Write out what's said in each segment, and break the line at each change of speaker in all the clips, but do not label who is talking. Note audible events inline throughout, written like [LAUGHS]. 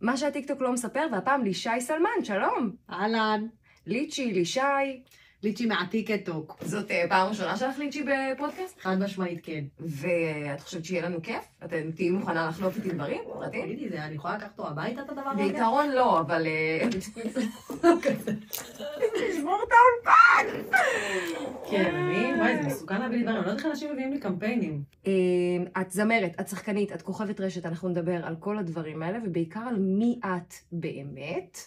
מה שהטיקטוק לא מספר, והפעם לישי סלמן, שלום.
אהלן,
ליצ'י, לישי.
ליצ'י מהטיקטוק.
זאת אה, פעם ראשונה שלך ליצ'י בפודקאסט,
חד משמעית כן.
ואת חושבת שיהיה לנו כיף? אתם תהיי מוכנה לחלוף איתי דברים? פרטים?
תגידי, זה- אני יכולה לקחת אותו הביתה את הדבר הזה? לא
בעיקרון לא, אבל... אה, תשמור את האולפן!
כן, אני, וואי, זה מסוכן להביא לי דברים. אני לא יודעת איך אנשים מביאים לי קמפיינים.
אה, את זמרת, את שחקנית, את כוכבת רשת, אנחנו נדבר על כל הדברים האלה, ובעיקר על מי את באמת,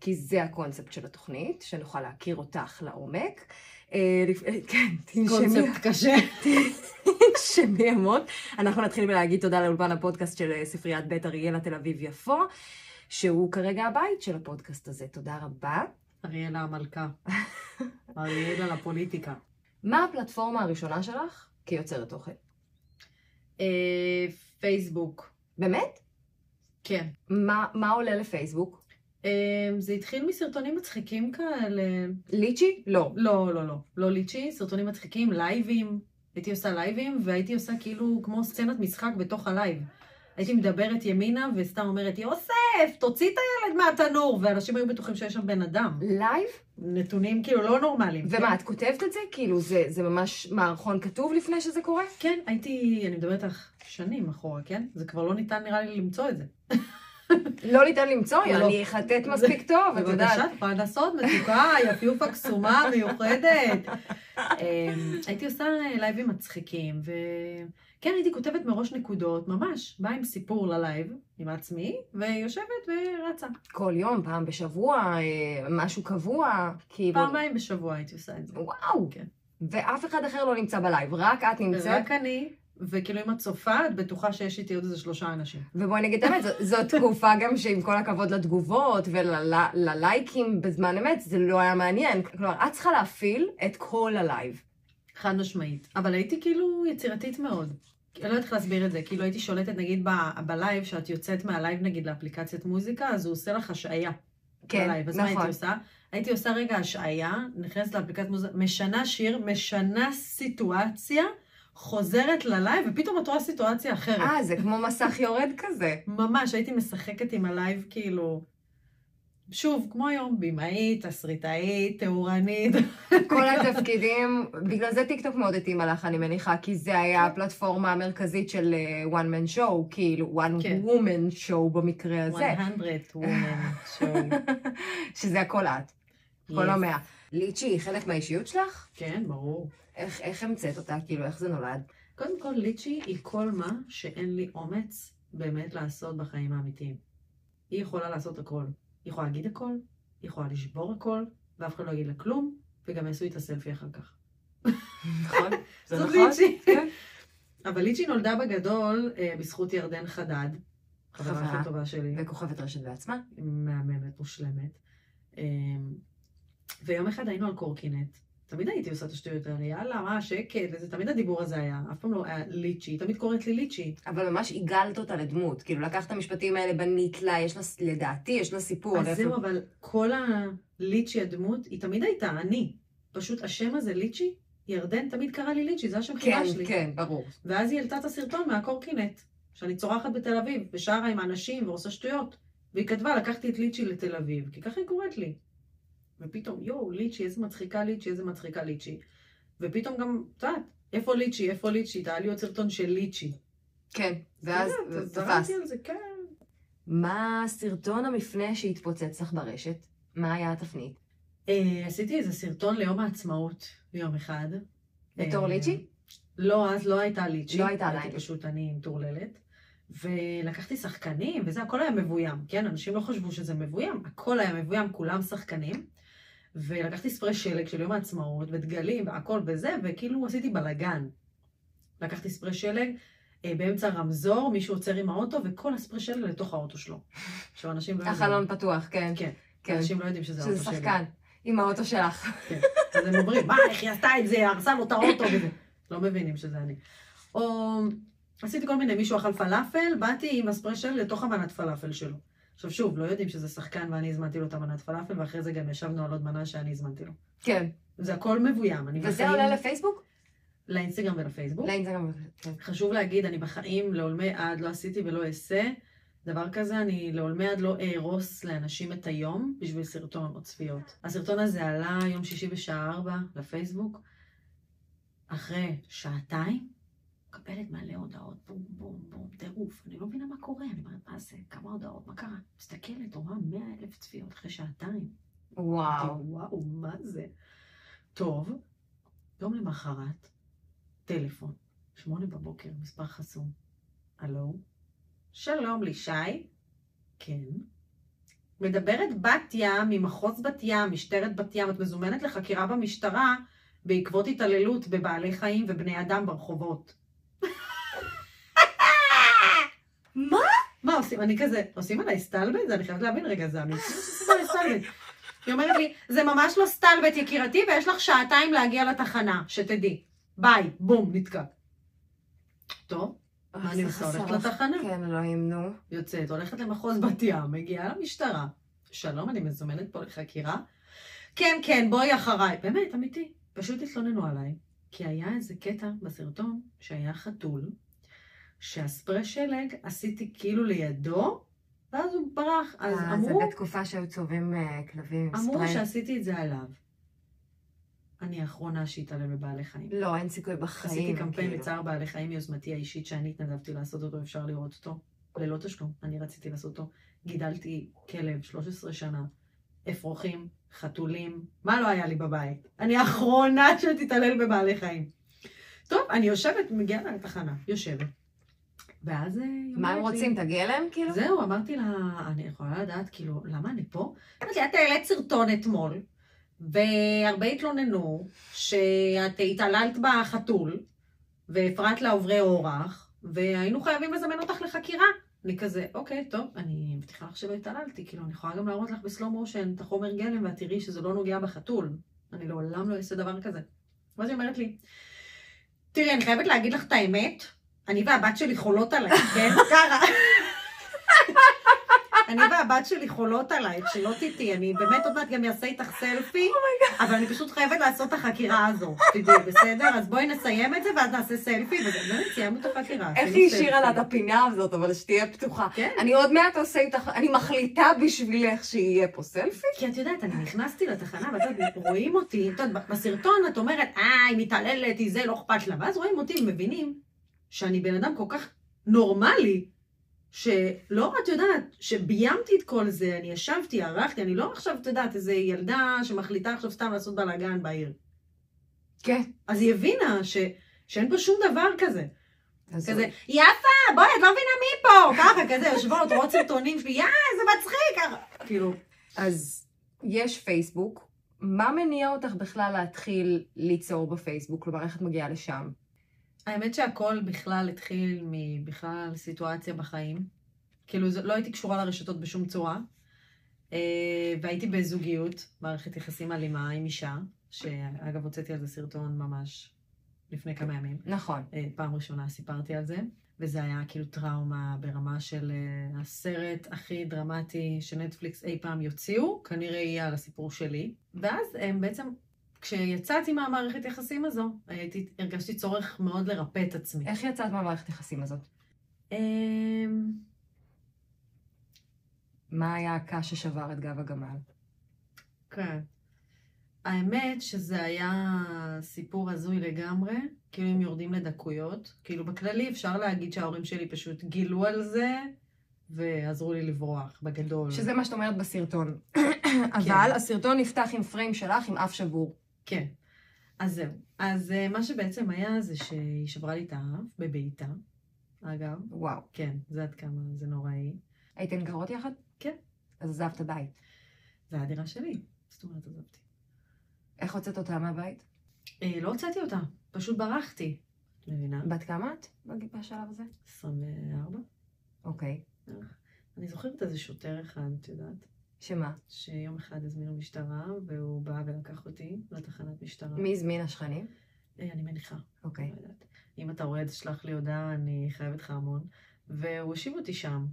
כי זה הקונספט של התוכנית, שנוכל להכיר אותך לעומק. אה, לפ- אה, כן, תנשמי,
קונספט קשה.
[LAUGHS] תנשמי המון. אנחנו נתחיל בלהגיד תודה לאולפן הפודקאסט של אה, ספריית בית אריאלה תל אביב-יפו, שהוא כרגע הבית של הפודקאסט הזה. תודה רבה.
אריאלה המלכה. אריאלה לפוליטיקה.
מה הפלטפורמה הראשונה שלך כיוצרת תוכן?
אה, פייסבוק.
באמת?
כן.
מה, מה עולה לפייסבוק?
אה, זה התחיל מסרטונים מצחיקים כאלה.
ליצ'י? לא.
לא, לא, לא. לא ליצ'י, סרטונים מצחיקים, לייבים. הייתי עושה לייבים, והייתי עושה כאילו כמו סצנת משחק בתוך הלייב. הייתי מדברת ימינה, וסתם אומרת, יוסף, תוציא את הילד מהתנור! ואנשים היו בטוחים שיש שם בן אדם.
לייב?
נתונים כאילו לא נורמליים.
ומה, את כותבת את זה? כאילו, זה, זה ממש מערכון כתוב לפני שזה קורה?
כן, הייתי, אני מדברת איתך שנים אחורה, כן? זה כבר לא ניתן נראה לי למצוא את זה.
לא ניתן למצוא,
לא.
אני אחטט מספיק טוב, את
בבקשה,
יודעת.
את יכולה לעשות מתוקה, [LAUGHS] יפיופה קסומה, מיוחדת. אמ, הייתי עושה לייבים מצחיקים, וכן, הייתי כותבת מראש נקודות, ממש, באה עם סיפור ללייב, עם עצמי, ויושבת ורצה.
כל יום, פעם בשבוע, אה, משהו קבוע, כאילו...
פעמיים בשבוע הייתי עושה את זה.
וואו!
כן.
ואף אחד אחר לא נמצא בלייב, רק את נמצאת.
רק אני, וכאילו אם את צופה, את בטוחה שיש איתי עוד איזה שלושה אנשים.
ובואי נגיד את האמת, זו- זו תקופה גם שעם כל הכבוד לתגובות וללייקים בזמן אמת, זה לא היה מעניין. כלומר, את צריכה להפעיל את כל הלייב.
חד משמעית. אבל הייתי כאילו יצירתית מאוד. אני לא יודעת איך להסביר את זה, כאילו הייתי שולטת נגיד ב- בלייב, שאת יוצאת מהלייב נגיד לאפליקציית מוזיקה, אז הוא עושה לך השעיה.
כן,
בלייב. אז מה הייתי
נכון.
עושה? הייתי עושה רגע השעיה, נכנסת לאפליקציית מוזיקה, משנה שיר, משנה סיטואציה, חוזרת ללייב, ופתאום את רואה סיטואציה אחרת.
אה, זה כמו מסך יורד
[LAUGHS]
כזה.
ממש, הייתי משחקת עם הלייב כאילו... שוב, כמו היום, במאית, תסריטאית, תאורנית.
כל התפקידים, בגלל זה טיקטוק מאוד התאימה לך, אני מניחה, כי זה היה
כן.
הפלטפורמה המרכזית של אה, one man show, כאילו one
כן.
woman show במקרה
100
הזה,
woman show.
[LAUGHS] שזה הכל את, כל
Yes.
המאה. ליצ'י היא חלק מהאישיות שלך?
כן, ברור.
איך, איך המצאת אותה? כאילו, איך זה נולד?
קודם כל, ליצ'י היא כל מה שאין לי אומץ באמת לעשות בחיים האמיתיים. היא יכולה לעשות הכל. היא יכולה להגיד הכל, היא יכולה לשבור הכל, ואף אחד לא יגיד לה כלום, וגם יעשו איתה סלפי אחר כך.
נכון? [LAUGHS] זה
זאת
נכון?
ליצ'י.
כן.
אבל ליצ'י נולדה בגדול אה, בזכות ירדן חדד,
חברה.
החברה הכי טובה שלי,
וכוכבת רשת בעצמה?
מהממת, מושלמת. אה, ויום אחד היינו על קורקינט. תמיד הייתי עושה את השטויות האלה, יאללה, מה, שקט, וזה תמיד הדיבור הזה היה, אף פעם לא היה ליצ'י, היא תמיד קוראת לי ליצ'י.
אבל ממש עיגלת אותה לדמות. כאילו, לקחת את המשפטים האלה, בנית לה, יש לה, ס- לדעתי, יש לה סיפור.
אז לא
איפה-
זהו, אבל כל הליצ'י הדמות, היא תמיד הייתה אני. פשוט השם הזה, ליצ'י, ירדן תמיד קרא לי ליצ'י, זה השם
כן,
חיבה שלי.
כן, ברור.
ואז היא העלתה את הסרטון מהקורקינט, שאני צורחת בתל אביב, ושרה עם האנשים ועושה שטויות. והיא כתבה, לקחתי את ליצ'י לתל אביב, כי ככה היא קוראת לי. ופתאום, יואו, ליצ'י, איזה מצחיקה ליצ'י, איזה מצחיקה ליצ'י. ופתאום גם, את יודעת, איפה ליצ'י, איפה ליצ'י, תעלי עוד סרטון של ליצ'י.
כן, ואז
את יודעת, אז
תפס.
דברתי על זה, כן.
מה סרטון המפנה שהתפוצץ לך ברשת? מה היה התפנית?
אה, עשיתי איזה סרטון ליום העצמאות, יום אחד.
בתור
אה,
ליצ'י?
לא, אז לא הייתה ליצ'י.
לא הייתה עדיין.
הייתי פשוט אני מטורללת. ולקחתי שחקנים, וזה הכל היה מבוים, כן? אנשים לא חשבו שזה מבוים, הכל היה מבוים, כולם שחקנים. ולקחתי ספרי שלג של יום העצמאות, ודגלים, והכל וזה, וכאילו עשיתי בלאגן. לקחתי ספרי שלג, אה, באמצע רמזור, מישהו עוצר עם האוטו, וכל הספרי שלג לתוך האוטו שלו. עכשיו, אנשים לא
החלון פתוח, כן.
כן,
כן.
אנשים לא יודעים שזה האוטו
שזה
שלי.
שחקן, עם האוטו שלך. [LAUGHS]
אז הם אומרים, מה, איך היא עשתה את זה, הרסה לו את האוטו וזה. לא מבינים שזה אני. או עשיתי כל מיני, מישהו אכל פלאפל, באתי עם הספרי שלי לתוך המנת פלאפל שלו. עכשיו שוב, לא יודעים שזה שחקן ואני הזמנתי לו את המנת פלאפל, ואחרי זה גם ישבנו על עוד מנה שאני הזמנתי לו.
כן.
זה הכל מבוים, אני
וזה עולה לפייסבוק?
לאינסטגרם ולפייסבוק.
לאינסטגרם. כן.
חשוב להגיד, אני בחיים לעולמי עד לא עשיתי ולא אעשה דבר כזה, אני לעולמי עד לא אארוס לאנשים את היום בשביל סרטון או צפיות. הסרטון הזה עלה יום שישי בשעה 4 לפייסבוק. אחרי שעתיים, מקבלת מלא הודעות, בום בום בום, טירוף. אני לא מבינה מה קורה, אני אומרת, מה זה, כמה הודעות, מה קרה? מסתכלת, רואה 100 אלף צפיות אחרי שעתיים.
וואו.
אמרתי, וואו, מה זה? טוב, יום למחרת, טלפון, שמונה בבוקר, מספר חסום. הלו? שלום, לישי? כן. מדברת בת ים ממחוז בת ים, משטרת בת ים, את מזומנת לחקירה במשטרה בעקבות התעללות בבעלי חיים ובני אדם ברחובות.
מה?
מה עושים? אני כזה, עושים עליי סטלבט? אני חייבת להבין רגע, זה אמיתי? עושים עליי סטלבט. היא אומרת לי, זה ממש לא סטלבט יקירתי, ויש לך שעתיים להגיע לתחנה, שתדעי. ביי, בום, נתקע. טוב, מה אני עושה? הולכת לתחנה.
כן, אלוהים, נו.
יוצאת, הולכת למחוז בת ים, מגיעה למשטרה. שלום, אני מזומנת פה לחקירה. כן, כן, בואי אחריי. באמת, אמיתי. פשוט התלוננו עליי, כי היה איזה קטע בסרטון שהיה חתול, שהספרי שלג עשיתי כאילו לידו, ואז הוא ברח. אז
אה,
אמרו...
זה בתקופה שהיו צובעים אה, כלבים עם
אמרו
ספרי.
שעשיתי את זה עליו. אני האחרונה שהתעלל בבעלי חיים.
לא, אין סיכוי בחיים.
עשיתי קמפיין
כאילו.
לצער בעלי חיים מיוזמתי האישית שאני התנדבתי לעשות אותו, אפשר לראות אותו. ללא תשלום, אני רציתי לעשות אותו. גידלתי כלב 13 שנה, אפרוחים, חתולים, מה לא היה לי בבית? אני האחרונה שתתעלל בבעלי חיים. טוב, אני יושבת, מגיעה לתחנה, יושבת. ואז... אה, היא
מה הם
אומרת לי-
רוצים, את הגלם כאילו?
זהו, אמרתי לה, אני יכולה לדעת, כאילו, למה אני פה? אמרתי, את העלית סרטון אתמול, והרבה התלוננו שאת התעללת בחתול, והפרעת לעוברי אורח, והיינו חייבים לזמן אותך לחקירה. אני כזה, אוקיי, טוב, אני מבטיחה לך שלא התעללתי, כאילו, אני יכולה גם להראות לך בסלואו מושן את החומר גלם, ואת תראי שזה לא נוגע בחתול. אני לעולם לא אעשה דבר כזה. ואז היא אומרת לי, תראי, אני חייבת להגיד לך את האמת, אני והבת שלי חולות עלייך,
[LAUGHS]
כן? ככה. אני והבת שלי חולות עלייך, שלא תטעי, אני באמת עוד מעט גם אעשה איתך סלפי,
Oh
אבל אני פשוט חייבת לעשות את החקירה הזו, תדעי, בסדר? אז בואי נסיים את זה ואז נעשה סלפי, ובאמת סיימנו את החקירה.
איך
עשינו
היא
סלפי.
השאירה לה את הפינה הזאת, אבל שתהיה פתוחה.
כן.
אני עוד מעט עושה איתך, אני מחליטה בשבילך שיהיה פה סלפי.
כי את יודעת, אני נכנסתי לתחנה, ואת יודעת, רואים אותי, את יודעת, בסרטון את אומרת, אה, היא מתעללת, היא זה, לא אכפת לה, ואז רואים אותי, מבינים שאני בן אדם כל כך נורמלי, שלא, את יודעת, שביימתי את כל זה, אני ישבתי, ערכתי, אני לא עכשיו, את יודעת, איזה ילדה שמחליטה עכשיו סתם לעשות בלאגן בעיר.
כן.
אז היא הבינה ש... שאין פה שום דבר כזה.
אז
כזה, יפה, בואי, את לא מבינה מי פה, ככה, כזה, יושבות, רואות סרטונים שלי, יא, זה מצחיק, ככה. כאילו,
אז יש פייסבוק, מה מניע אותך בכלל להתחיל ליצור בפייסבוק? כלומר, איך את מגיעה לשם?
האמת שהכל בכלל התחיל מבכלל סיטואציה בחיים. כאילו, זה- לא הייתי קשורה לרשתות בשום צורה. אה, והייתי בזוגיות, מערכת יחסים אלימה עם אישה, שאגב, הוצאתי על זה סרטון ממש לפני כמה ימים.
נכון.
אה, פעם ראשונה סיפרתי על זה, וזה היה כאילו טראומה ברמה של אה, הסרט הכי דרמטי שנטפליקס אי פעם יוציאו, כנראה יהיה על הסיפור שלי. ואז הם בעצם, כשיצאתי מהמערכת יחסים הזו, הייתי, הרגשתי צורך מאוד לרפא את עצמי.
איך יצאת מהמערכת היחסים הזאת?
אמ,
מה היה הקש ששבר את גב הגמל?
כן. האמת שזה היה סיפור הזוי לגמרי, כאילו הם יורדים לדקויות. כאילו בכללי אפשר להגיד שההורים שלי פשוט גילו על זה ועזרו לי לברוח, בגדול.
שזה מה שאת אומרת [COUGHS] בסרטון. אבל הסרטון נפתח עם פריים שלך עם אף שבור.
כן. אז זהו. אז אה, מה שבעצם היה זה שהיא שברה לי את האף בבעיטה, אגב.
וואו.
כן, זה עד כמה זה נוראי.
הייתן גרות יחד?
כן.
אז עזבת בית.
זה היה דירה שלי, זאת אומרת, עזבתי.
איך הוצאת אותה מהבית?
אה, לא הוצאתי אותה, פשוט ברחתי. את מבינה?
בת כמה את בג- בשלב הזה?
24?
אוקיי.
אני זוכרת איזה שוטר אחד, את יודעת,
שמה?
שיום אחד הזמינו משטרה, והוא בא ולקח אותי לתחנת משטרה.
מי הזמין השכנים?
אה, אני מניחה.
אוקיי.
לא יודעת. אם אתה רואה, תשלח לי הודעה, אני חייבת לך המון. והוא הושיב אותי שם,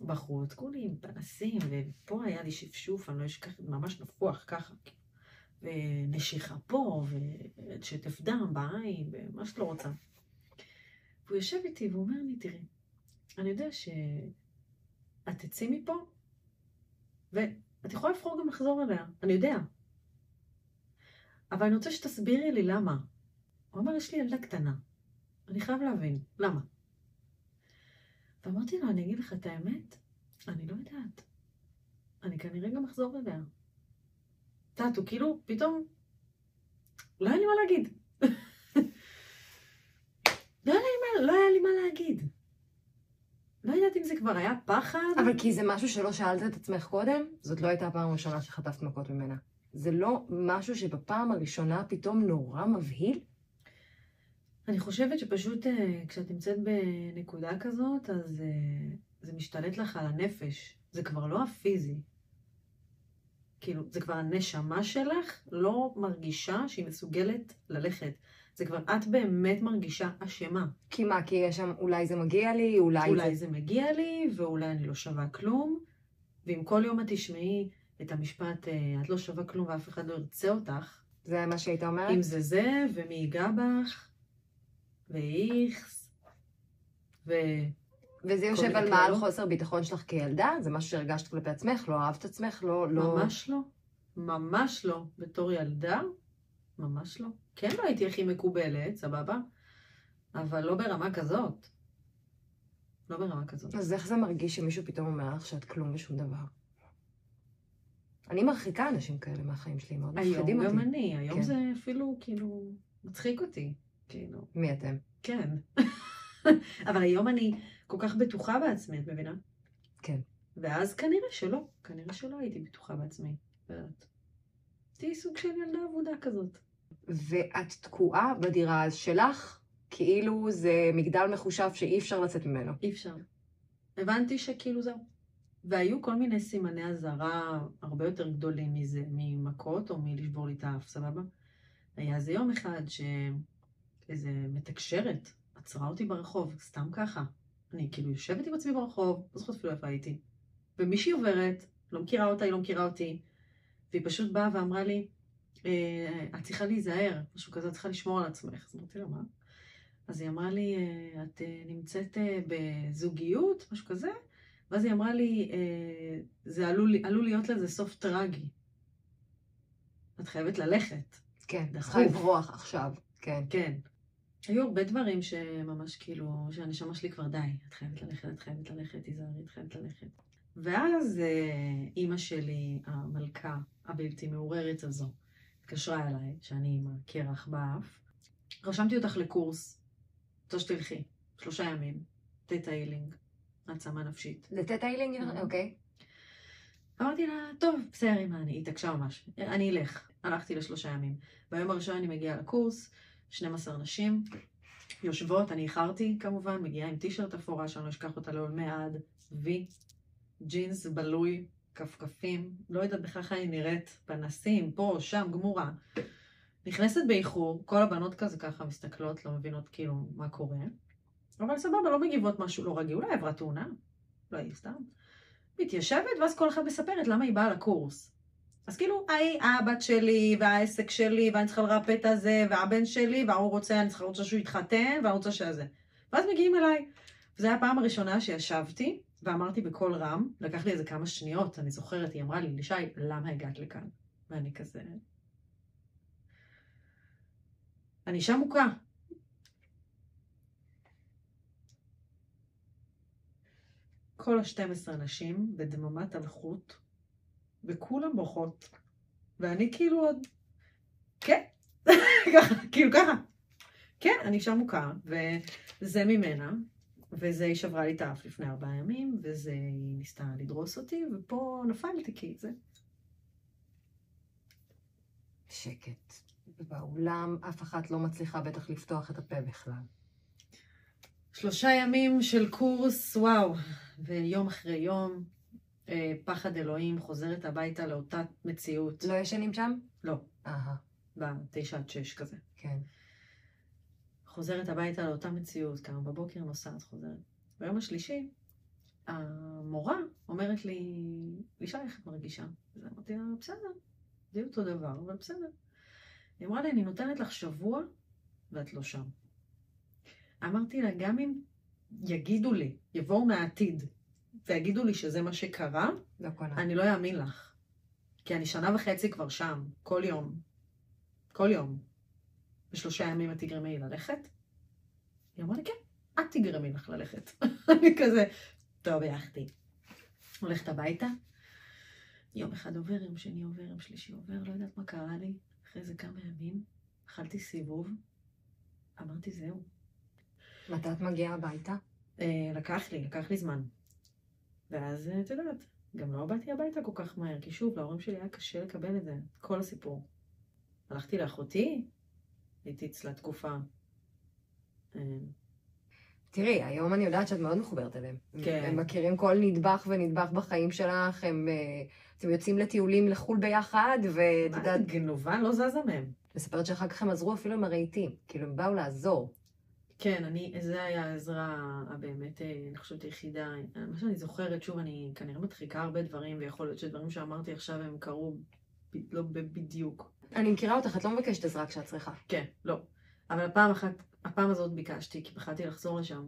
בחוץ, כולי עם פנסים, ופה היה לי שפשוף, אני לא אשכח, ממש נפוח, ככה. ונשיכה פה, ושטף דם בעין, ומה שאת לא רוצה. והוא יושב איתי והוא אומר לי, תראי, אני יודע ש... את תצאי מפה, ואת יכולה לבחור גם לחזור אליה, אני יודע. אבל אני רוצה שתסבירי לי למה. הוא אמר, יש לי ילדה קטנה, אני חייב להבין, למה? ואמרתי לו, אני אגיד לך את האמת, אני לא יודעת. אני כנראה גם אחזור אליה. את יודעת, הוא כאילו, פתאום, לא היה לי מה להגיד. [LAUGHS] לא, היה לי מה, לא היה לי מה להגיד. לא יודעת אם זה כבר היה פחד.
אבל כי זה משהו שלא שאלת את עצמך קודם, זאת לא הייתה הפעם הראשונה שחטפת מכות ממנה. זה לא משהו שבפעם הראשונה פתאום נורא מבהיל?
אני חושבת שפשוט אה, כשאת נמצאת בנקודה כזאת, אז אה, זה משתלט לך על הנפש. זה כבר לא הפיזי. כאילו, זה כבר הנשמה שלך לא מרגישה שהיא מסוגלת ללכת. זה כבר את באמת מרגישה אשמה.
כי מה, כי יש שם, אולי זה מגיע לי, אולי,
אולי זה מגיע לי, ואולי אני לא שווה כלום. ואם כל יום את תשמעי את המשפט, אה, את לא שווה כלום ואף אחד לא ירצה אותך,
זה... זה מה שהיית אומרת?
אם זה זה, ומי ייגע בך, ואיכס, ו...
וזה יושב
מיני
על מעל
קללות.
חוסר ביטחון שלך כילדה? זה משהו שהרגשת כלפי עצמך? לא אהבת עצמך? לא... לא...
ממש לא. ממש לא. בתור ילדה, ממש לא. כן לא הייתי הכי מקובלת, סבבה? אבל לא ברמה כזאת. לא ברמה כזאת.
אז איך זה מרגיש שמישהו פתאום אומר לך שאת כלום ושום דבר? אני מרחיקה אנשים כאלה מהחיים שלי, מאוד מפחידים
היום
אותי.
גם אני, היום
כן.
זה אפילו כאילו מצחיק אותי. כאילו,
מי אתם?
כן. [LAUGHS] אבל היום אני כל כך בטוחה בעצמי, את מבינה?
כן.
ואז כנראה שלא, כנראה שלא הייתי בטוחה בעצמי. לא יודעת. תהיי סוג של ילדה אבודה כזאת.
ואת תקועה בדירה אז שלך, כאילו זה מגדל מחושב שאי אפשר לצאת ממנו.
אי אפשר. הבנתי שכאילו זהו. והיו כל מיני סימני אזהרה הרבה יותר גדולים מזה, ממכות או מלשבור לי את האף, סבבה? היה איזה יום אחד שאיזה מתקשרת עצרה אותי ברחוב, סתם ככה. אני כאילו יושבת עם עצמי ברחוב, לא זוכרת אפילו איפה הייתי. ומישהי עוברת, לא מכירה אותה, היא לא מכירה אותי, והיא פשוט באה ואמרה לי, "אה, את צריכה להיזהר, משהו כזה, את צריכה לשמור על עצמך. אז אמרתי לה, מה? אז היא אמרה לי, "אה, את אה, נמצאת אה, בזוגיות, משהו כזה, ואז היא אמרה לי, "אה, זה עלול, עלול להיות לזה סוף טרגי. את חייבת ללכת.
כן,
דחוף.
צריכה לברוח עכשיו, כן.
כן. היו הרבה דברים שממש כאילו, שהנשמה שלי כבר די, את חייבת ללכת, את חייבת ללכת, תיזהרי, את חייבת ללכת. ואז אה, אימא שלי, המלכה הבלתי מעוררת הזו, התקשרה אליי, שאני עם הקרח באף, רשמתי אותך לקורס, רוצה שתלכי, שלושה ימים, תטא הילינג, העצמה נפשית.
זה תטא הילינג,
Mhm.
אוקיי.
אמרתי לה, טוב, בסדר, אמא, אני היא התעקשה ממש, אני אלך. הלכתי לשלושה ימים. ביום הראשון אני מגיעה לקורס, 12 נשים, יושבות, אני איחרתי כמובן, מגיעה עם טישרט אפורה, שאני לא אשכח אותה לעולמי עד, וי, ג'ינס בלוי, כפכפים, לא יודעת בכלל איך אני נראית, פנסים, פה, שם, גמורה. נכנסת באיחור, כל הבנות כזה ככה מסתכלות, לא מבינות כאילו מה קורה, אבל סבבה, לא מגיבות משהו לא רגיל, אולי עברה תאונה, אולי סתם. מתיישבת, ואז כל אחת מספרת למה היא באה לקורס. אז כאילו, היי, הבת שלי, והעסק שלי, ואני צריכה לרפא את הזה, והבן שלי, וההוא רוצה, אני צריכה, רוצה שהוא יתחתן, ואני רוצה שזה. ואז מגיעים אליי. וזו הייתה הפעם הראשונה שישבתי, ואמרתי בקול רם, לקח לי איזה כמה שניות, אני זוכרת, היא אמרה לי, לישי, למה הגעת לכאן? ואני כזה... אני אישה מוכה. כל ה-12 נשים בדממת אלחוט, וכולם בוכות. ואני כאילו עוד... כן, [LAUGHS] ככה, כאילו ככה. כן, אני אישה מוכה, וזה ממנה, וזה היא שברה לי את האף לפני ארבעה ימים, וזה היא ניסתה לדרוס אותי, ופה נפלתי כי זה.
שקט. באולם אף אחת לא מצליחה בטח לפתוח את הפה בכלל.
שלושה ימים של קורס, וואו, ויום אחרי יום, אה, פחד אלוהים, חוזרת הביתה לאותה מציאות.
לא ישנים שם?
לא,
אהה,
בתשע עד שש כזה.
כן.
חוזרת הביתה לאותה מציאות, קמה בבוקר, נוסעת, חוזרת. ביום השלישי, המורה אומרת לי, לישי, איך את מרגישה? אז אמרתי לה, בסדר, זה יהיה אותו דבר, אבל בסדר. היא אמרה לי, אני נותנת לך שבוע, ואת לא שם. אמרתי לה, גם אם יגידו לי, יבואו מהעתיד, ויגידו לי שזה מה שקרה,
לא קונה.
אני לא אאמין לך. כי אני שנה וחצי כבר שם, כל יום. כל יום. בשלושה ימים את תגרמי לי ללכת? היא אמרה לי, כן, את תגרמי לך ללכת. [LAUGHS] אני כזה, טוב, הלכתי. הולכת הביתה, יום אחד עובר, יום שני עובר, יום שלישי עובר, לא יודעת מה קרה לי. אחרי זה כמה ימים, אכלתי סיבוב, אמרתי, זהו.
מתי את מגיעה הביתה?
אה, לקח לי, לקח לי זמן. ואז, אה, את יודעת, גם לא באתי הביתה כל כך מהר, כי שוב, להורים שלי היה קשה לקבל את זה, כל הסיפור. הלכתי לאחותי, הייתי אצלה תקופה. אה,
תראי, היום אני יודעת שאת מאוד מחוברת אליהם.
כן.
הם מכירים כל נדבך ונדבך בחיים שלך, הם... אה, אתם יוצאים לטיולים לחו"ל ביחד, ואת
מה,
יודעת...
את גנובה לא זזה מהם.
מספרת שאחר כך הם עזרו אפילו עם הרהיטים. כאילו, הם באו לעזור.
כן, אני, זה היה העזרה הבאמת, אה, אני חושבת, היחידה. אה, מה שאני זוכרת, שוב, אני כנראה מדחיקה הרבה דברים, ויכול להיות שדברים שאמרתי עכשיו הם קרו ב- לא ב- בדיוק.
אני מכירה אותך, את לא מבקשת עזרה כשאת צריכה.
כן, לא. אבל הפעם אחת, הפעם הזאת ביקשתי, כי פחדתי לחזור לשם.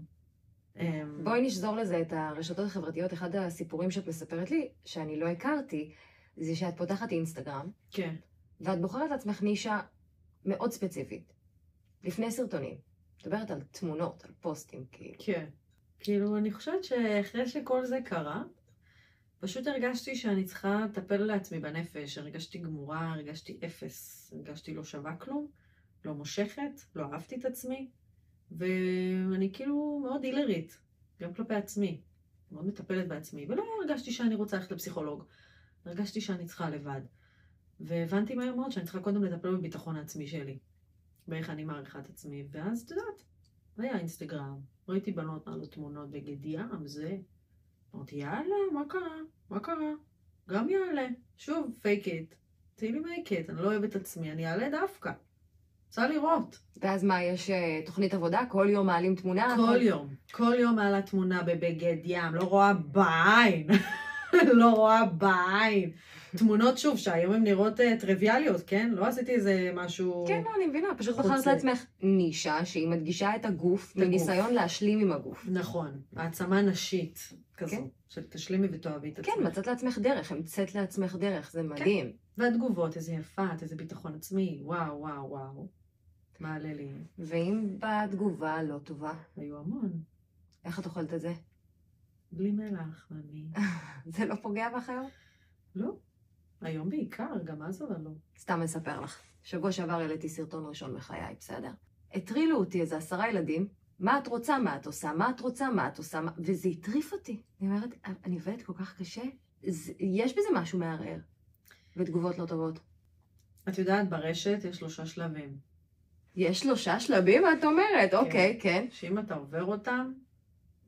אמ,
בואי נשזור לזה את הרשתות החברתיות. אחד הסיפורים שאת מספרת לי, שאני לא הכרתי, זה שאת פותחת אינסטגרם,
כן,
ואת בוחרת לעצמך נישה מאוד ספציפית. לפני סרטונים. מדברת על תמונות, על פוסטים, כאילו.
כן. כאילו, אני חושבת שאחרי שכל זה קרה, פשוט הרגשתי שאני צריכה לטפל לעצמי בנפש. הרגשתי גמורה, הרגשתי אפס. הרגשתי לא שווה כלום, לא מושכת, לא אהבתי את עצמי, ואני כאילו מאוד הילרית, גם כלפי עצמי. מאוד מטפלת בעצמי, ולא הרגשתי שאני רוצה ללכת לפסיכולוג. הרגשתי שאני צריכה לבד. והבנתי מהר מאוד שאני צריכה קודם לטפל בביטחון העצמי שלי. באיך אני מעריכה את עצמי, ואז את יודעת, היה אינסטגרם, ראיתי בנות מעלות תמונות בגד ים, זה. אמרתי, יאללה, מה קרה? מה קרה? גם יעלה. שוב, פייק איט. תהיי מייק איט, אני לא אוהבת את עצמי, אני אעלה דווקא. רוצה לראות.
ואז מה, יש אה, תוכנית עבודה? כל יום מעלים תמונה?
כל יום. כל יום מעלה תמונה בבגד ים, לא רואה בעין. [LAUGHS] לא רואה בעין. תמונות שוב, שהיום הן נראות אה, טריוויאליות, כן? לא עשיתי איזה משהו...
כן, לא, אני מבינה, פשוט
חוץ
בחרת
זה.
לעצמך נישה שהיא מדגישה את הגוף
את הגוף.
מניסיון להשלים עם הגוף.
נכון, העצמה נשית כזו,
כן.
של תשלימי ותאהבי את
כן,
עצמך. כן.
מצאת לעצמך דרך, המצאת לעצמך דרך, זה מדהים.
והתגובות, איזה יפה, את, איזה ביטחון עצמי, וואו, וואו, וואו. מעלה לי,
ואם באה תגובה לא טובה,
היו המון.
איך את אוכלת את זה?
בלי מלח, ואני...
זה לא פוגע באחיות?
לא. היום בעיקר, גם אז אבל לא.
סתם אספר לך. שבוע שעבר העליתי סרטון ראשון בחיי, בסדר? הטרילו אותי איזה עשרה ילדים, מה את רוצה, מה את עושה, מה את רוצה, מה את עושה, מה... וזה הטריף אותי. אני אומרת, אני עובדת כל כך קשה, זה... יש בזה משהו מערער. ותגובות לא טובות.
את יודעת, ברשת יש שלושה שלבים.
יש שלושה שלבים, מה את אומרת? אוקיי, כן.
שאם אתה עובר אותם,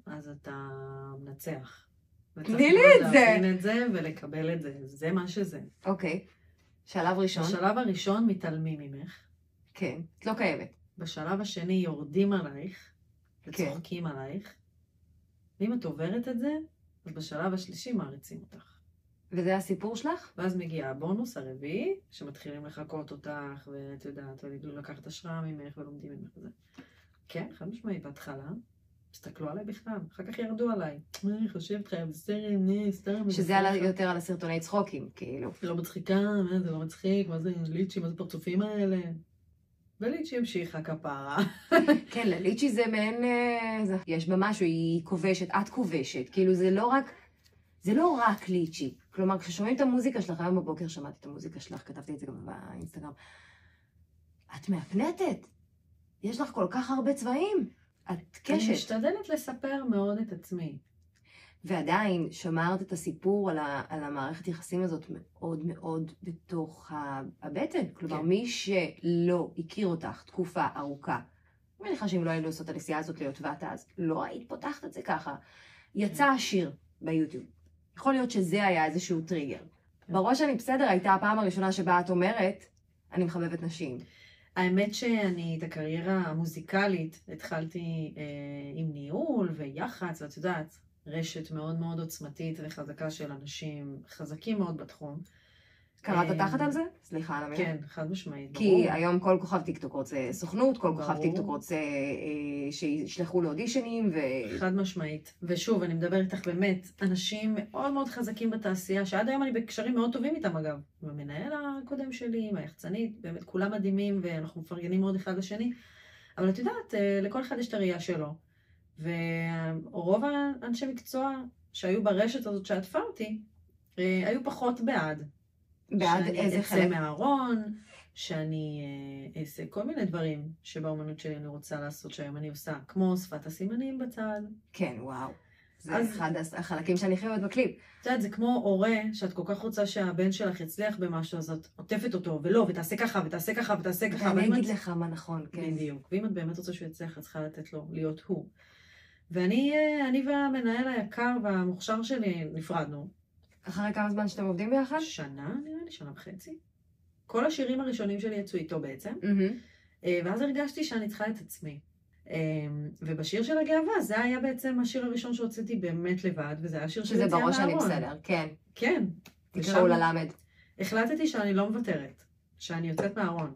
אז אתה מנצח.
תני לי את זה.
וצריך מאוד להבין את זה ולקבל את זה. זה מה שזה.
אוקיי. שלב ראשון.
בשלב הראשון מתעלמים ממך.
כן. את לא קיימת.
בשלב השני יורדים עלייך,
כן.
וצוחקים עלייך, ואם את עוברת את זה, אז בשלב השלישי מעריצים אותך.
וזה הסיפור שלך?
ואז מגיע הבונוס הרביעי, שמתחילים לחקות אותך, ואת יודעת, ולגלו לקחת השראה ממך, ולומדים ממך וזה. כן, חד משמעית, בהתחלה, הסתכלו עליי בכלל, אחר כך ירדו עליי. מה, איך יושבת לך, יא בסרט, נה, סטרם.
שזה
בסרט."
עלה יותר על הסרטוני צחוקים, כאילו.
לא מצחיקה, מה זה לא מצחיק, מה זה ליצ'י, מה זה פרצופים האלה. וליצ'י המשיכה כפרה.
כן, לליצ'י זה מעין... אה, זה- יש בה משהו, היא כובשת, את כובשת. כאילו, זה לא רק... זה לא רק ליצ'י. כלומר, כששומעים את המוזיקה שלך, היום בבוקר שמעתי את המוזיקה שלך, כתבתי את זה גם באינסטגרם. את מהפנטת. יש לך כל כך הרבה צבעים. את
אני
קשת.
משתדלת לספר מאוד את עצמי.
ועדיין שמרת את הסיפור על, ה, על המערכת יחסים הזאת מאוד מאוד בתוך ה- הבטן. כלומר,
כן.
כן. מי שלא הכיר אותך תקופה ארוכה, אני מניחה שאם לא היינו עושות את הנסיעה הזאת להיות ואת אז, לא היית פותחת את זה ככה. יצא
כן.
השיר ביוטיוב. יכול להיות שזה היה איזשהו טריגר.
כן.
בראש אני בסדר הייתה הפעם הראשונה שבה את אומרת, אני מחבבת נשים.
האמת שאני את הקריירה המוזיקלית התחלתי אה, עם ניהול ויח"צ, ואת יודעת, רשת מאוד מאוד עוצמתית וחזקה של אנשים חזקים מאוד בתחום.
קראת
אה,
תחת על זה? סליחה על המילה.
כן, חד משמעית, ברור.
כי היום כל כוכב טיקטוק רוצה סוכנות, כל כוכב
ברור.
טיקטוק רוצה אה, שישלחו לאודישנים, ו...
חד משמעית. ושוב, אני מדבר איתך באמת, אנשים מאוד מאוד חזקים בתעשייה, שעד היום אני בקשרים מאוד טובים איתם אגב. עם המנהל הקודם שלי, עם היחצנית, באמת כולם מדהימים, ואנחנו מפרגנים מאוד אחד לשני. אבל את יודעת, אה, לכל אחד יש את הראייה שלו. ורוב האנשי מקצוע שהיו ברשת הזאת שעטפה אותי, אה, היו פחות בעד.
בעד איזה
שאני
חלק.
אצא מהארון, שאני אה, אעשה כל מיני דברים שבאומנות שלי אני רוצה לעשות, שהיום אני עושה, כמו שפת הסימנים בצד.
כן, וואו. זה
אז-
אחד הס- החלקים שאני הכי אוהבת בקליפ.
את יודעת, זה כמו הורה שאת כל כך רוצה שהבן שלך יצליח במשהו, אז את עוטפת אותו, ולא, ותעשה ככה, ותעשה ככה, ותעשה ככה. אבל
ואני
אם
אגיד
את-
לך מה נכון, כן.
בדיוק. ואם את באמת רוצה שהוא יצליח, את צריכה לתת לו להיות הוא. ואני אה, אני והמנהל היקר והמוכשר שלי נפרדנו.
אחרי כמה זמן שאתם עובדים ביחד?
שנה, נראה לי, שנה וחצי. כל השירים הראשונים שלי יצאו איתו בעצם.
מהמם.
אה, ואז הרגשתי שאני צריכה את עצמי. אה, ובשיר של הגאווה, זה היה בעצם השיר הראשון שהוצאתי באמת לבד, וזה היה שיר של
שזה
יציאה מהארון.
בראש אני בסדר, כן.
כן.
תקראו
ושם
ללמד.
החלטתי שאני לא מוותרת, שאני יוצאת מהארון.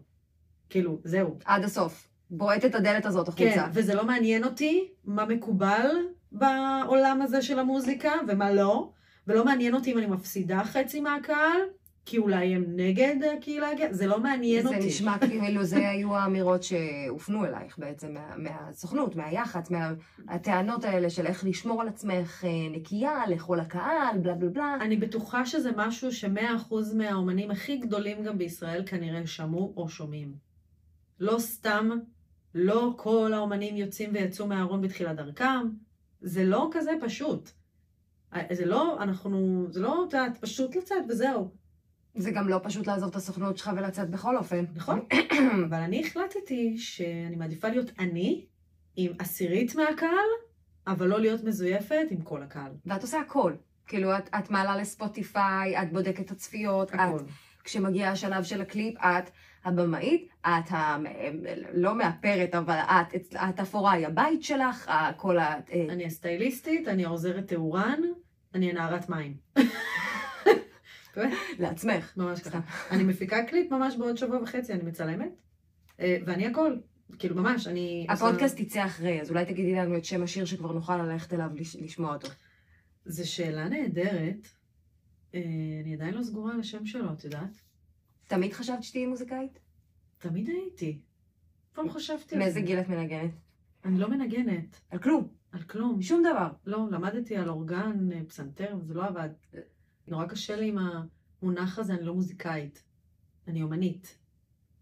כאילו, זהו.
עד הסוף. בועט את הדלת הזאת
כן,
החוצה.
וזה לא מעניין אותי מה מקובל בעולם הזה של המוזיקה ומה לא, ולא מעניין אותי אם אני מפסידה חצי מהקהל, כי אולי הם נגד הקהילה הגאה, זה לא מעניין
זה
אותי.
נשמע כאילו זה היו האמירות שהופנו אלייך בעצם מה- מהסוכנות, מהיח"צ, מה- הטענות האלה של איך לשמור על עצמך אה, נקייה, לכל הקהל, בלה בלה בלה.
אני בטוחה שזה משהו שמאה אחוז מהאומנים הכי גדולים גם בישראל כנראה שמעו או שומעים. לא סתם, לא כל האומנים יוצאים ויצאו מהארון בתחילת דרכם. זה לא כזה פשוט. זה לא, אנחנו, זה לא, את יודעת, פשוט לצאת וזהו.
זה גם לא פשוט לעזוב את הסוכנות שלך ולצאת בכל אופן.
נכון. אבל אני החלטתי שאני מעדיפה להיות אני עם עשירית מהקהל, אבל לא להיות מזויפת עם כל הקהל.
ואת עושה הכל. כאילו, את, את מעלה לספוטיפיי, את בודקת את הצפיות, את,
הכל.
כשמגיע השלב של הקליפ, את הבמאית, את ה... לא מאפרת, אבל את, את, את אפורה, היא הבית שלך, ה- כל ה... אה,
אני הסטייליסטית, אני העוזרת תאורן, אני הנערת מים. באמת,
לעצמך.
ממש ככה.
סתם.
אני מפיקה קליפ ממש בעוד שבוע וחצי, אני מצלמת, אה, ואני הכל. כאילו, ממש, אני... עושה-
הפודקאסט יצא אחרי, אז אולי תגידי לנו את שם השיר שכבר נוכל ללכת אליו לש- לשמוע אותו.
זו שאלה נהדרת. אה, אני עדיין לא סגורה על השם שלו, את יודעת?
תמיד חשבת שתהיי מוזיקאית?
תמיד הייתי. פעם חשבתי על
מאיזה
זה.
גיל את מנגנת?
אני לא מנגנת,
על כלום,
על כלום.
שום דבר.
לא, למדתי על אורגן, אה, פסנתר, זה לא עבד. נורא קשה לי עם המונח הזה, אני לא מוזיקאית. אני אומנית.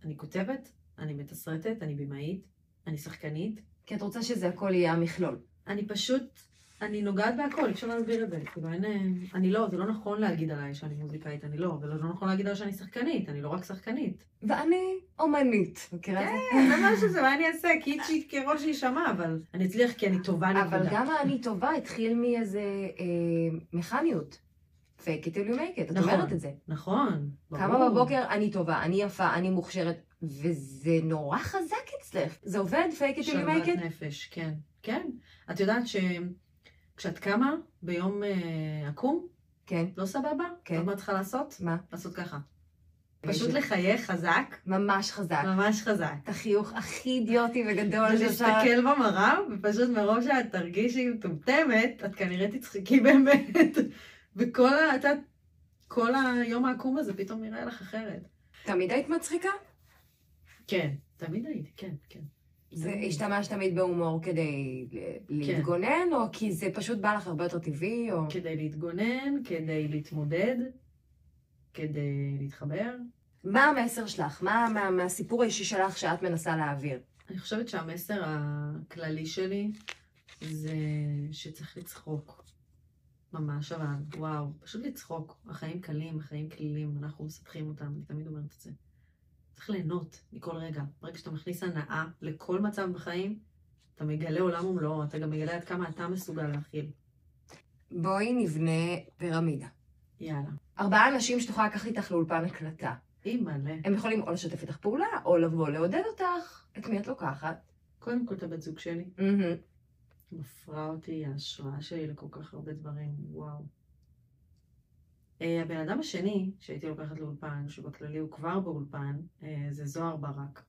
אני כותבת, אני מתסרטת, אני במאית, אני שחקנית.
כי את רוצה שזה הכל יהיה המכלול.
אני פשוט, אני נוגעת בהכל, אי אפשר להסביר את זה. כאילו אין, אה, אני לא, זה לא נכון להגיד עליי שאני מוזיקאית, אני לא, ולא לא נכון להגיד עליי שאני שחקנית, אני לא רק שחקנית.
ואני אומנית, מכירה את זה?
כן, זה משהו זה, מה אני אעשה? קיצ'י כראש להישמע, אבל אני אצליח כי אני טובה נקודה.
אבל גם האני טובה התחיל מאיזה אה, מכניות. fake it till you make it, את
נכון.
אומרת את זה.
נכון, ברור.
קמה בבוקר, אני טובה, אני יפה, אני מוכשרת, וזה נורא חזק אצלך. זה עובד, fake it till you make
שלוות
it.
נפש, כן. כן. את יודעת שכשאת קמה ביום אה, עקום,
כן,
לא סבבה?
כן.
את יודעת מה את צריכה לעשות?
מה?
לעשות ככה. פשוט לחייך חזק,
ממש חזק.
ממש חזק.
את החיוך הכי אידיוטי וגדול שאפשר...
ולהסתכל במראה, ופשוט מרוב שאת תרגישי מטומטמת, את כנראה תצחקי [LAUGHS] באמת. וכל ה... את יודעת, כל היום העקום הזה פתאום נראה לך אחרת.
תמיד היית מצחיקה?
כן. תמיד הייתי, כן, כן.
זה
תמיד.
השתמשת תמיד בהומור כדי אה, להתגונן, או כי זה פשוט בא לך הרבה יותר טבעי, או...
כדי להתגונן, כדי להתמודד, כדי להתחבר.
מה המסר שלך? מה מה- מה הסיפור האישי שלך שאת מנסה להעביר?
אני חושבת שהמסר הכללי שלי זה שצריך לצחוק. ממש אבל, וואו, פשוט לצחוק. החיים קלים, החיים קלילים, אנחנו מספחים אותם, אני תמיד אומרת את זה. צריך ליהנות מכל רגע. ברגע שאתה מכניס הנאה לכל מצב בחיים, אתה מגלה עולם ומלואו, אתה גם מגלה עד כמה אתה מסוגל להכיל.
בואי נבנה פירמידה.
יאללה.
ארבעה אנשים שתוכל לקחת איתך לאולפן הקלטה.
אי מלא.
הם יכולים או לשתף איתך פעולה, או לבוא לעודד אותך. את מי את לוקחת?
קודם כל את הבת זוג שלי.
מהמם.
מפרה אותי, ההשראה שלי לכל כך הרבה דברים, וואו. אה, הבן אדם השני שהייתי לוקחת לאולפן, שבכללי הוא כבר באולפן, אה, זה זוהר ברק,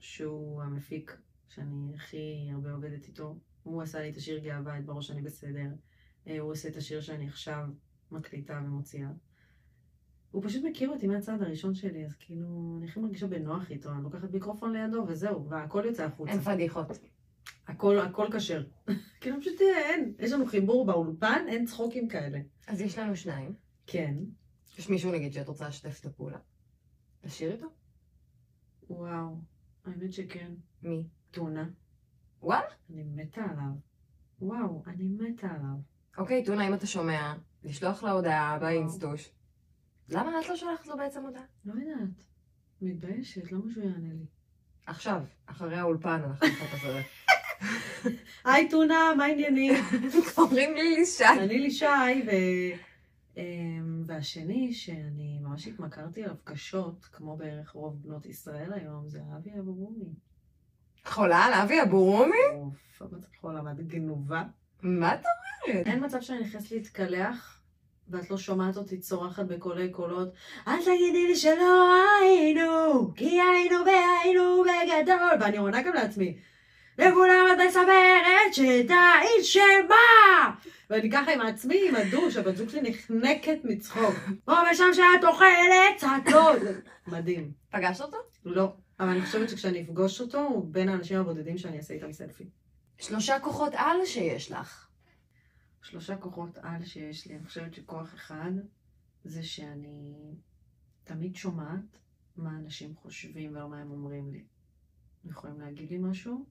שהוא המפיק שאני הכי הרבה עובדת איתו. הוא עשה לי את השיר גאווה, את בראש אני בסדר. אה, הוא עושה את השיר שאני עכשיו מקליטה ומוציאה. הוא פשוט מכיר אותי מהצעד הראשון שלי, אז כאילו, אני הכי מרגישה בנוח איתו, אני לוקחת מיקרופון לידו וזהו, והכל יוצא החוצה.
אין פדיחות.
הכל, הכל כשר. [LAUGHS] כאילו פשוט אה, אין, יש לנו חיבור באולפן, אין צחוקים כאלה.
אז יש לנו שניים.
כן.
יש מישהו נגיד שאת רוצה לשתף את הפעולה. תשאיר איתו?
וואו, האמת שכן.
מי?
טונה.
וואלה?
אני מתה עליו. וואו, אני מתה עליו.
אוקיי, טונה, אם אתה שומע, לשלוח לה הודעה
וואו.
באינסטוש. למה את לא שולחת לו בעצם הודעה?
לא יודעת. מתביישת, למה שהוא יענה לי?
עכשיו, אחרי האולפן
[LAUGHS]
אנחנו נעשה את זה. [LAUGHS]
היי טונה, מה [LAUGHS] העניינים?
קוראים לי לישי.
אני לישי, ו... אמ, והשני, שאני ממש התמכרתי אליו קשות, כמו בערך רוב בנות ישראל היום, זה אבי אברומי.
חולה על אבי אבורומי?
אוף, למה את יכולה למד גנובה?
מה אתה אומרת?
אין מצב שאני נכנסת להתקלח, ואת לא שומעת אותי צורחת בקולי קולות, אל תגידי לי שלא היינו, כי היינו והיינו בגדול, ואני עונה גם לעצמי. לכולם את מספרת שטעית שמה! ואני ככה עם עצמי, עם הדוש, הבת זוג שלי נחנקת מצחוק. פה ושם שאת אוכלת, קצת לא. זה מדהים.
פגשת אותו?
לא. אבל אני חושבת שכשאני אפגוש אותו, הוא בין האנשים הבודדים שאני אעשה איתם סלפי.
שלושה כוחות על שיש לך.
שלושה כוחות על שיש לי. אני חושבת שכוח אחד זה שאני תמיד שומעת מה אנשים חושבים ולא מה הם אומרים לי. הם יכולים להגיד לי משהו,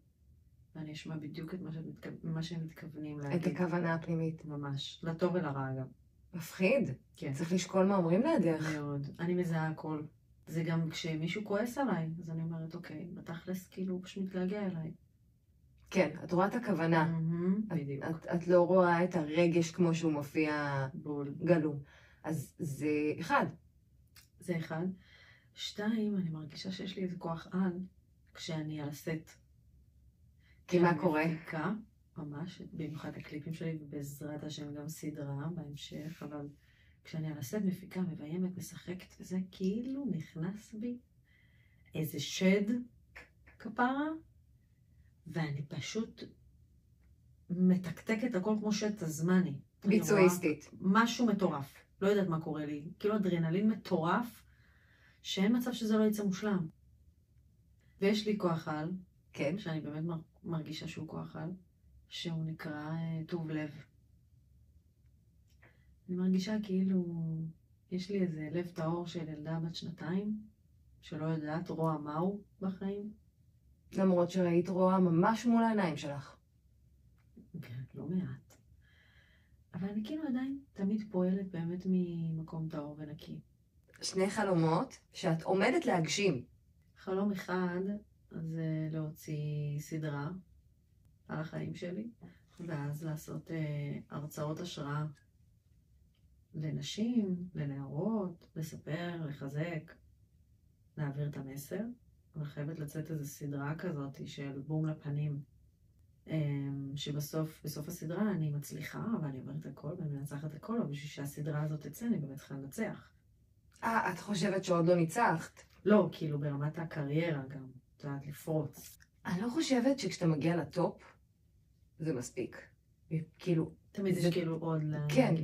ואני אשמע בדיוק את מה, שאת מתכו- מה שהם מתכוונים
את
להגיד.
הכוונה הפנימית.
ממש. לטוב ולרע גם.
מפחיד.
כן.
צריך לשקול מה אומרים לידך.
מאוד. אני מזהה הכל. זה גם כשמישהו כועס עליי, אז אני אומרת, אוקיי, בתכלס כאילו הוא פשוט מתגעגע אליי.
כן, את רואה את הכוונה.
מהמם, בדיוק.
את, את לא רואה את הרגש כמו שהוא מופיע
בול.
גלום. אז זה אחד.
זה אחד. שתיים, אני מרגישה שיש לי איזה כוח על כשאני על הסט.
כי מה קורה?
מפיקה, כן, ממש, במיוחד הקליפים שלי, ובעזרת השם גם סדרה בהמשך, אבל כשאני על הסט מפיקה, מביימת, משחקת וזה, כאילו נכנס בי איזה שד כפרה, ואני פשוט מתקתקת הכל כמו שד תזמני. אני רואה-
ביצועיסטית.
משהו מטורף. לא יודעת מה קורה לי. כאילו אדרנלין מטורף, שאין מצב שזה לא יצא מושלם. ויש לי כוח על,
כן.
שאני באמת מר- מרגישה שהוא כוח על, שהוא נקרא אה, טוב לב. אני מרגישה כאילו, יש לי איזה לב טהור של ילדה בת שנתיים, שלא יודעת רוע מהו בחיים.
למרות שראית רואה ממש מול העיניים שלך.
לא מעט. אבל אני כאילו עדיין תמיד פועלת באמת ממקום טהור ונקי.
שני חלומות שאת עומדת להגשים.
חלום אחד זה להוציא סדרה על החיים שלי, ואז לעשות אה, הרצאות השראה לנשים, לנערות, לספר, לחזק, להעביר את המסר. אבל חייבת לצאת איזו סדרה כזאת של בום לפנים, אה, שבסוף, בסוף הסדרה אני מצליחה, ואני עוברת הכל ואני מנצחת הכל, אבל בשביל שהסדרה הזאת תצא אני באמת צריכה לנצח.
אה, את חושבת שעוד לא ניצחת?
לא, כאילו ברמת הקריירה גם, את יודעת, לפרוץ.
אני לא חושבת שכשאתה מגיע לטופ, זה מספיק. כאילו,
תמיד
זה-
יש כאילו עוד ל...
כן.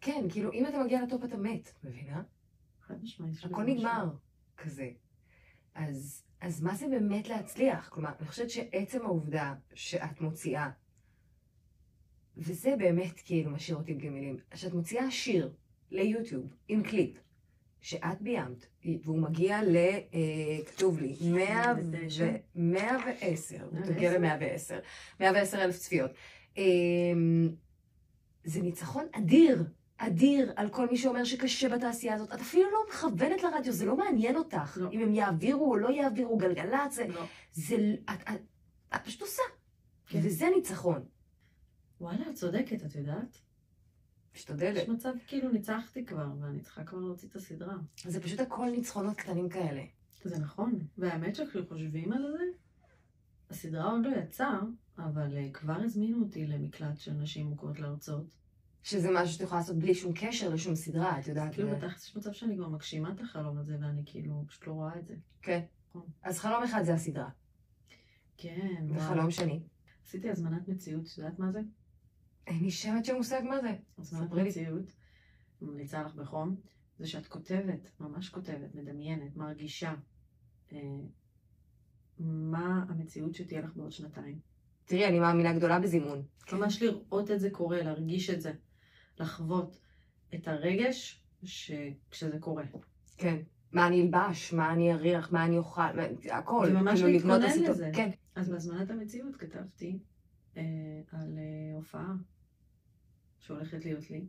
כן, כאילו, אם אתה מגיע לטופ אתה מת, מבינה?
חד משמעית. יש בזה
הכל
משהו.
נגמר, כזה. אז, אז מה זה באמת להצליח? כלומר, אני חושבת שעצם העובדה שאת מוציאה, וזה באמת כאילו משאיר אותי בלי מילים, שאת מוציאה שיר ליוטיוב עם קליפ שאת ביימת, והוא מגיע ל... אה, כתוב לי, 100 ו...
109.
110, הוא מגיע
110?
ל-110, 110 אלף צפיות. אמ, זה ניצחון אדיר, אדיר, על כל מי שאומר שקשה בתעשייה הזאת. את אפילו לא מכוונת לרדיו, זה לא מעניין אותך.
לא.
אם הם יעבירו או לא יעבירו גלגלצ, זה...
לא.
זה ל- את, את, את פשוט עושה.
כן.
וזה ניצחון.
וואלה, את צודקת, את יודעת?
משתדלת.
יש מצב כאילו ניצחתי כבר, ואני צריכה כבר להוציא את הסדרה.
זה פשוט הכל ניצחונות קטנים כאלה.
זה נכון. והאמת שכשחושבים על זה, הסדרה עוד לא יצאה, אבל אה, כבר הזמינו אותי למקלט של נשים מוכות להרצות.
שזה משהו שאת יכולה לעשות בלי שום קשר לשום סדרה, את יודעת. אה.
כאילו,
זה-
בתכלס יש מצב שאני כבר מגשימה את החלום הזה, ואני כאילו פשוט לא רואה את זה.
כן. אז חלום אחד זה הסדרה,
כן, וואו.
וחלום שני.
עשיתי הזמנת מציאות, את יודעת מה זה?
אין לי שמץ של מושג מה זה.
הזמנת
ספרי לי.
מציאות, ממליצה לך בחום, זה שאת כותבת, ממש כותבת, מדמיינת, מרגישה, אה, מה המציאות שתהיה לך בעוד שנתיים. לא
תראי, אני מאמינה גדולה בזימון.
ממש לראות את זה קורה, להרגיש את זה, לחוות את הרגש ש... כשזה קורה.
כן. מה אני אלבש, מה אני אריח, מה אני אוכל, מה- הכל.
וממש
כאילו, לבנות את
להתכונן
הסיטואציה.
לזה.
כן.
אז בהזמנת המציאות כתבתי אה, על אה, הופעה שהולכת להיות לי,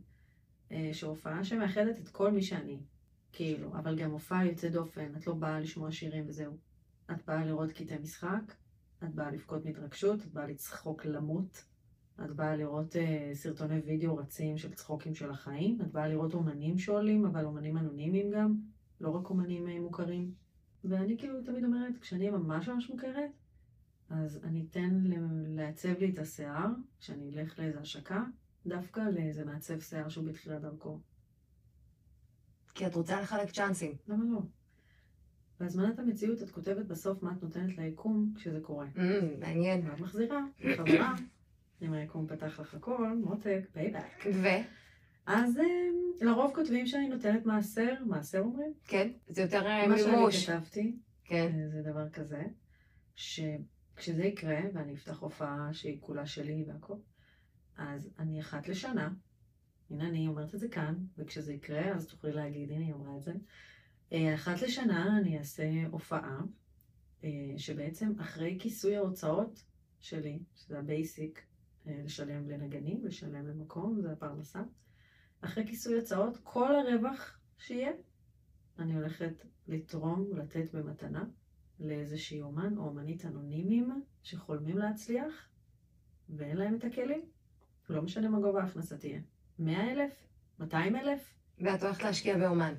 אה, שהופעה שמאחדת את כל מי שאני, כאילו, אבל גם הופעה יוצאת דופן, את לא באה לשמוע שירים וזהו. את באה לראות קטעי משחק, את באה לבכות מהתרגשות, את באה לצחוק למות, את באה לראות אה, סרטוני וידאו רצים של צחוקים של החיים, את באה לראות אומנים שעולים, אבל אומנים אנונימיים גם, לא רק אומנים אה, מוכרים. ואני כאילו תמיד אומרת, כשאני אהיה ממש ממש מוכרת, אז אני אתן ל- לעצב לי את השיער, כשאני אלך לאיזה השקה, דווקא לאיזה מעצב שיער שהוא בתחילת דרכו.
כי את רוצה לחלק צ'אנסים.
למה לא? בהזמנת המציאות את כותבת בסוף מה את נותנת ליקום כשזה קורה.
אמ, מעניין.
ואת מחזירה, חזרה, אם היקום פתח לך הכל, מותק, פייבק.
ו?
אז אה, לרוב כותבים שאני נותנת מעשר, מעשר אומרים?
כן. זה יותר אה,
מה שאני
מימוש.
כתבתי,
כן.
אה, זה דבר כזה, שכשזה יקרה, ואני אפתח הופעה שהיא כולה שלי והכל, אז אני אחת לשנה, הנה אני אומרת את זה כאן, וכשזה יקרה, אז תוכלי להגיד, הנה היא אמרה את זה, אה, אחת לשנה אני אעשה הופעה, אה, שבעצם אחרי כיסוי ההוצאות שלי, שזה הבייסיק, אה, לשלם לנגנים, לשלם למקום, זה הפרנסה, אחרי כיסוי הוצאות, כל הרווח שיהיה, אני הולכת לתרום, לתת במתנה לאיזשהי אומן או אומנית אנונימיים שחולמים להצליח ואין להם את הכלים. לא משנה מה גובה ההכנסה תהיה. 100 אלף? 200 אלף?
ואת הולכת להשקיע באומן.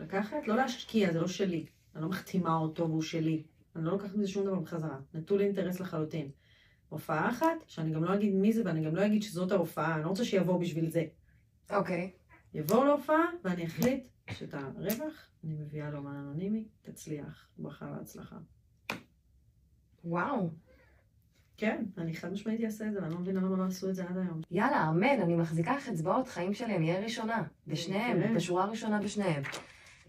לקחת? לא להשקיע, זה לא שלי. אני לא מחתימה אותו והוא שלי. אני לא לוקחת מזה שום דבר בחזרה. נטול אינטרס לחלוטין. הופעה אחת, שאני גם לא אגיד מי זה ואני גם לא אגיד שזאת ההופעה, אני לא רוצה שיבואו בשביל זה.
אוקיי.
יבואו להופעה ואני אחליט שאת הרווח אני מביאה לאומן אנונימי, תצליח, ברכה והצלחה.
וואו.
כן, אני חד משמעית אעשה את זה, ואני לא מבינה למה לא עשו את זה עד היום.
יאללה, אמן, אני מחזיקה לך אצבעות, חיים שלי, אני אהיה ראשונה.
כן.
בשניהם, בשורה הראשונה בשניהם.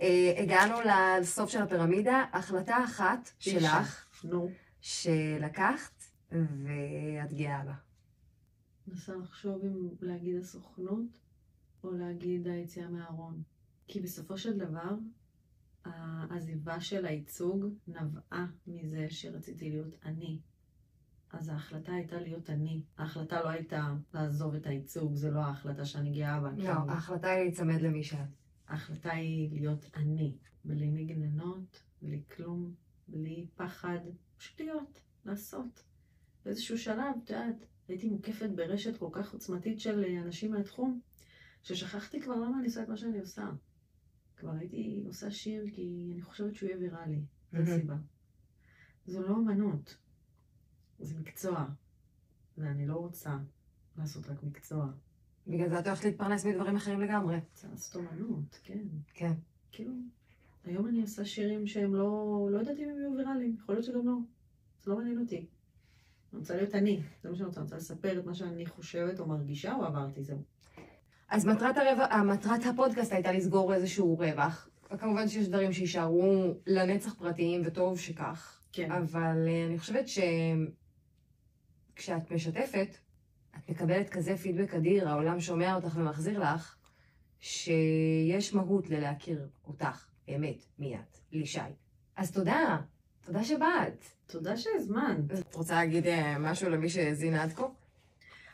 אה, הגענו לסוף של הפירמידה, החלטה אחת
תשע.
שלך,
נו.
שלקחת, ואת גאה בה.
מנסה לחשוב אם להגיד הסוכנות, או להגיד היציאה מהארון. כי בסופו של דבר, העזיבה של הייצוג נבעה מזה שרציתי להיות אני. אז ההחלטה הייתה להיות אני. ההחלטה לא הייתה לעזוב את הייצוג, זו לא ההחלטה שאני גאה בה.
לא,
כאילו.
ההחלטה היא להיצמד למי שאת.
ההחלטה היא להיות אני, בלי מגננות, בלי כלום, בלי פחד, פשוט להיות, לעשות. באיזשהו שלב, את יודעת, הייתי מוקפת ברשת כל כך עוצמתית של אה, אנשים מהתחום, ששכחתי כבר למה אני עושה את מה שאני עושה. כבר הייתי עושה שיר כי אני חושבת שהוא יהיה ויראלי, זו
Mhm.
הסיבה. זו לא אומנות, זה מקצוע, ואני לא רוצה לעשות רק מקצוע.
בגלל זה את הולכת להתפרנס מדברים אחרים לגמרי.
זה לעשות אומנות, כן.
כן.
כאילו, היום אני עושה שירים שהם לא, לא יודעת אם הם יהיו ויראליים, יכול להיות שגם לא. זה לא מעניין אותי. אני רוצה להיות אני, זה מה שאני רוצה, אני רוצה לספר את מה שאני חושבת או מרגישה או עברתי, זהו.
אז מטרת, הרבע, מטרת הפודקאסט הייתה לסגור איזשהו רווח. כמובן שיש דברים שיישארו לנצח פרטיים, וטוב שכך.
כן.
אבל אה, אני חושבת שכשאת משתפת, את מקבלת כזה פידבק אדיר, העולם שומע אותך ומחזיר לך, שיש מהות ללהכיר אותך, באמת, מי את, לישי. אז תודה, תודה שבאת.
תודה שהזמנת.
אז את רוצה להגיד אה, משהו למי שהאזין עד כה?
אני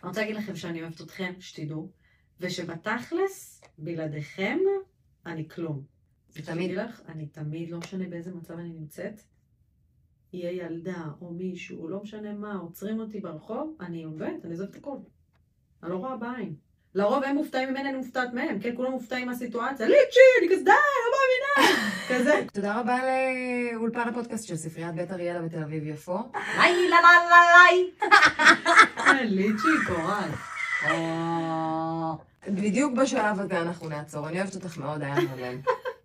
רוצה להגיד לכם שאני אוהבת אתכם, שתדעו, ושבתכלס, בלעדיכם, אני כלום.
תמיד.
שתדעי לך, אני תמיד, לא משנה באיזה מצב אני נמצאת, יהיה ילדה או מישהו, לא משנה מה, עוצרים אותי ברחוב, אני עובדת, אני עוזבת את הכל. אני לא רואה בעין. לרוב הם מופתעים ממני, אני מופתעת מהם, כן, כולם מופתעים מהסיטואציה, ליצ'י, אני כזה, די, לא מאמינה,
[LAUGHS]
כזה.
תודה רבה לאולפן הפודקאסט של ספריית בית אריאלה בתל אביב יפו.
ליי, ליי, אה, ליי, ליי. ליצ'י, קורל.
בדיוק בשלב הזה אנחנו נעצור. אני אוהבת אותך מאוד, היה מהמם.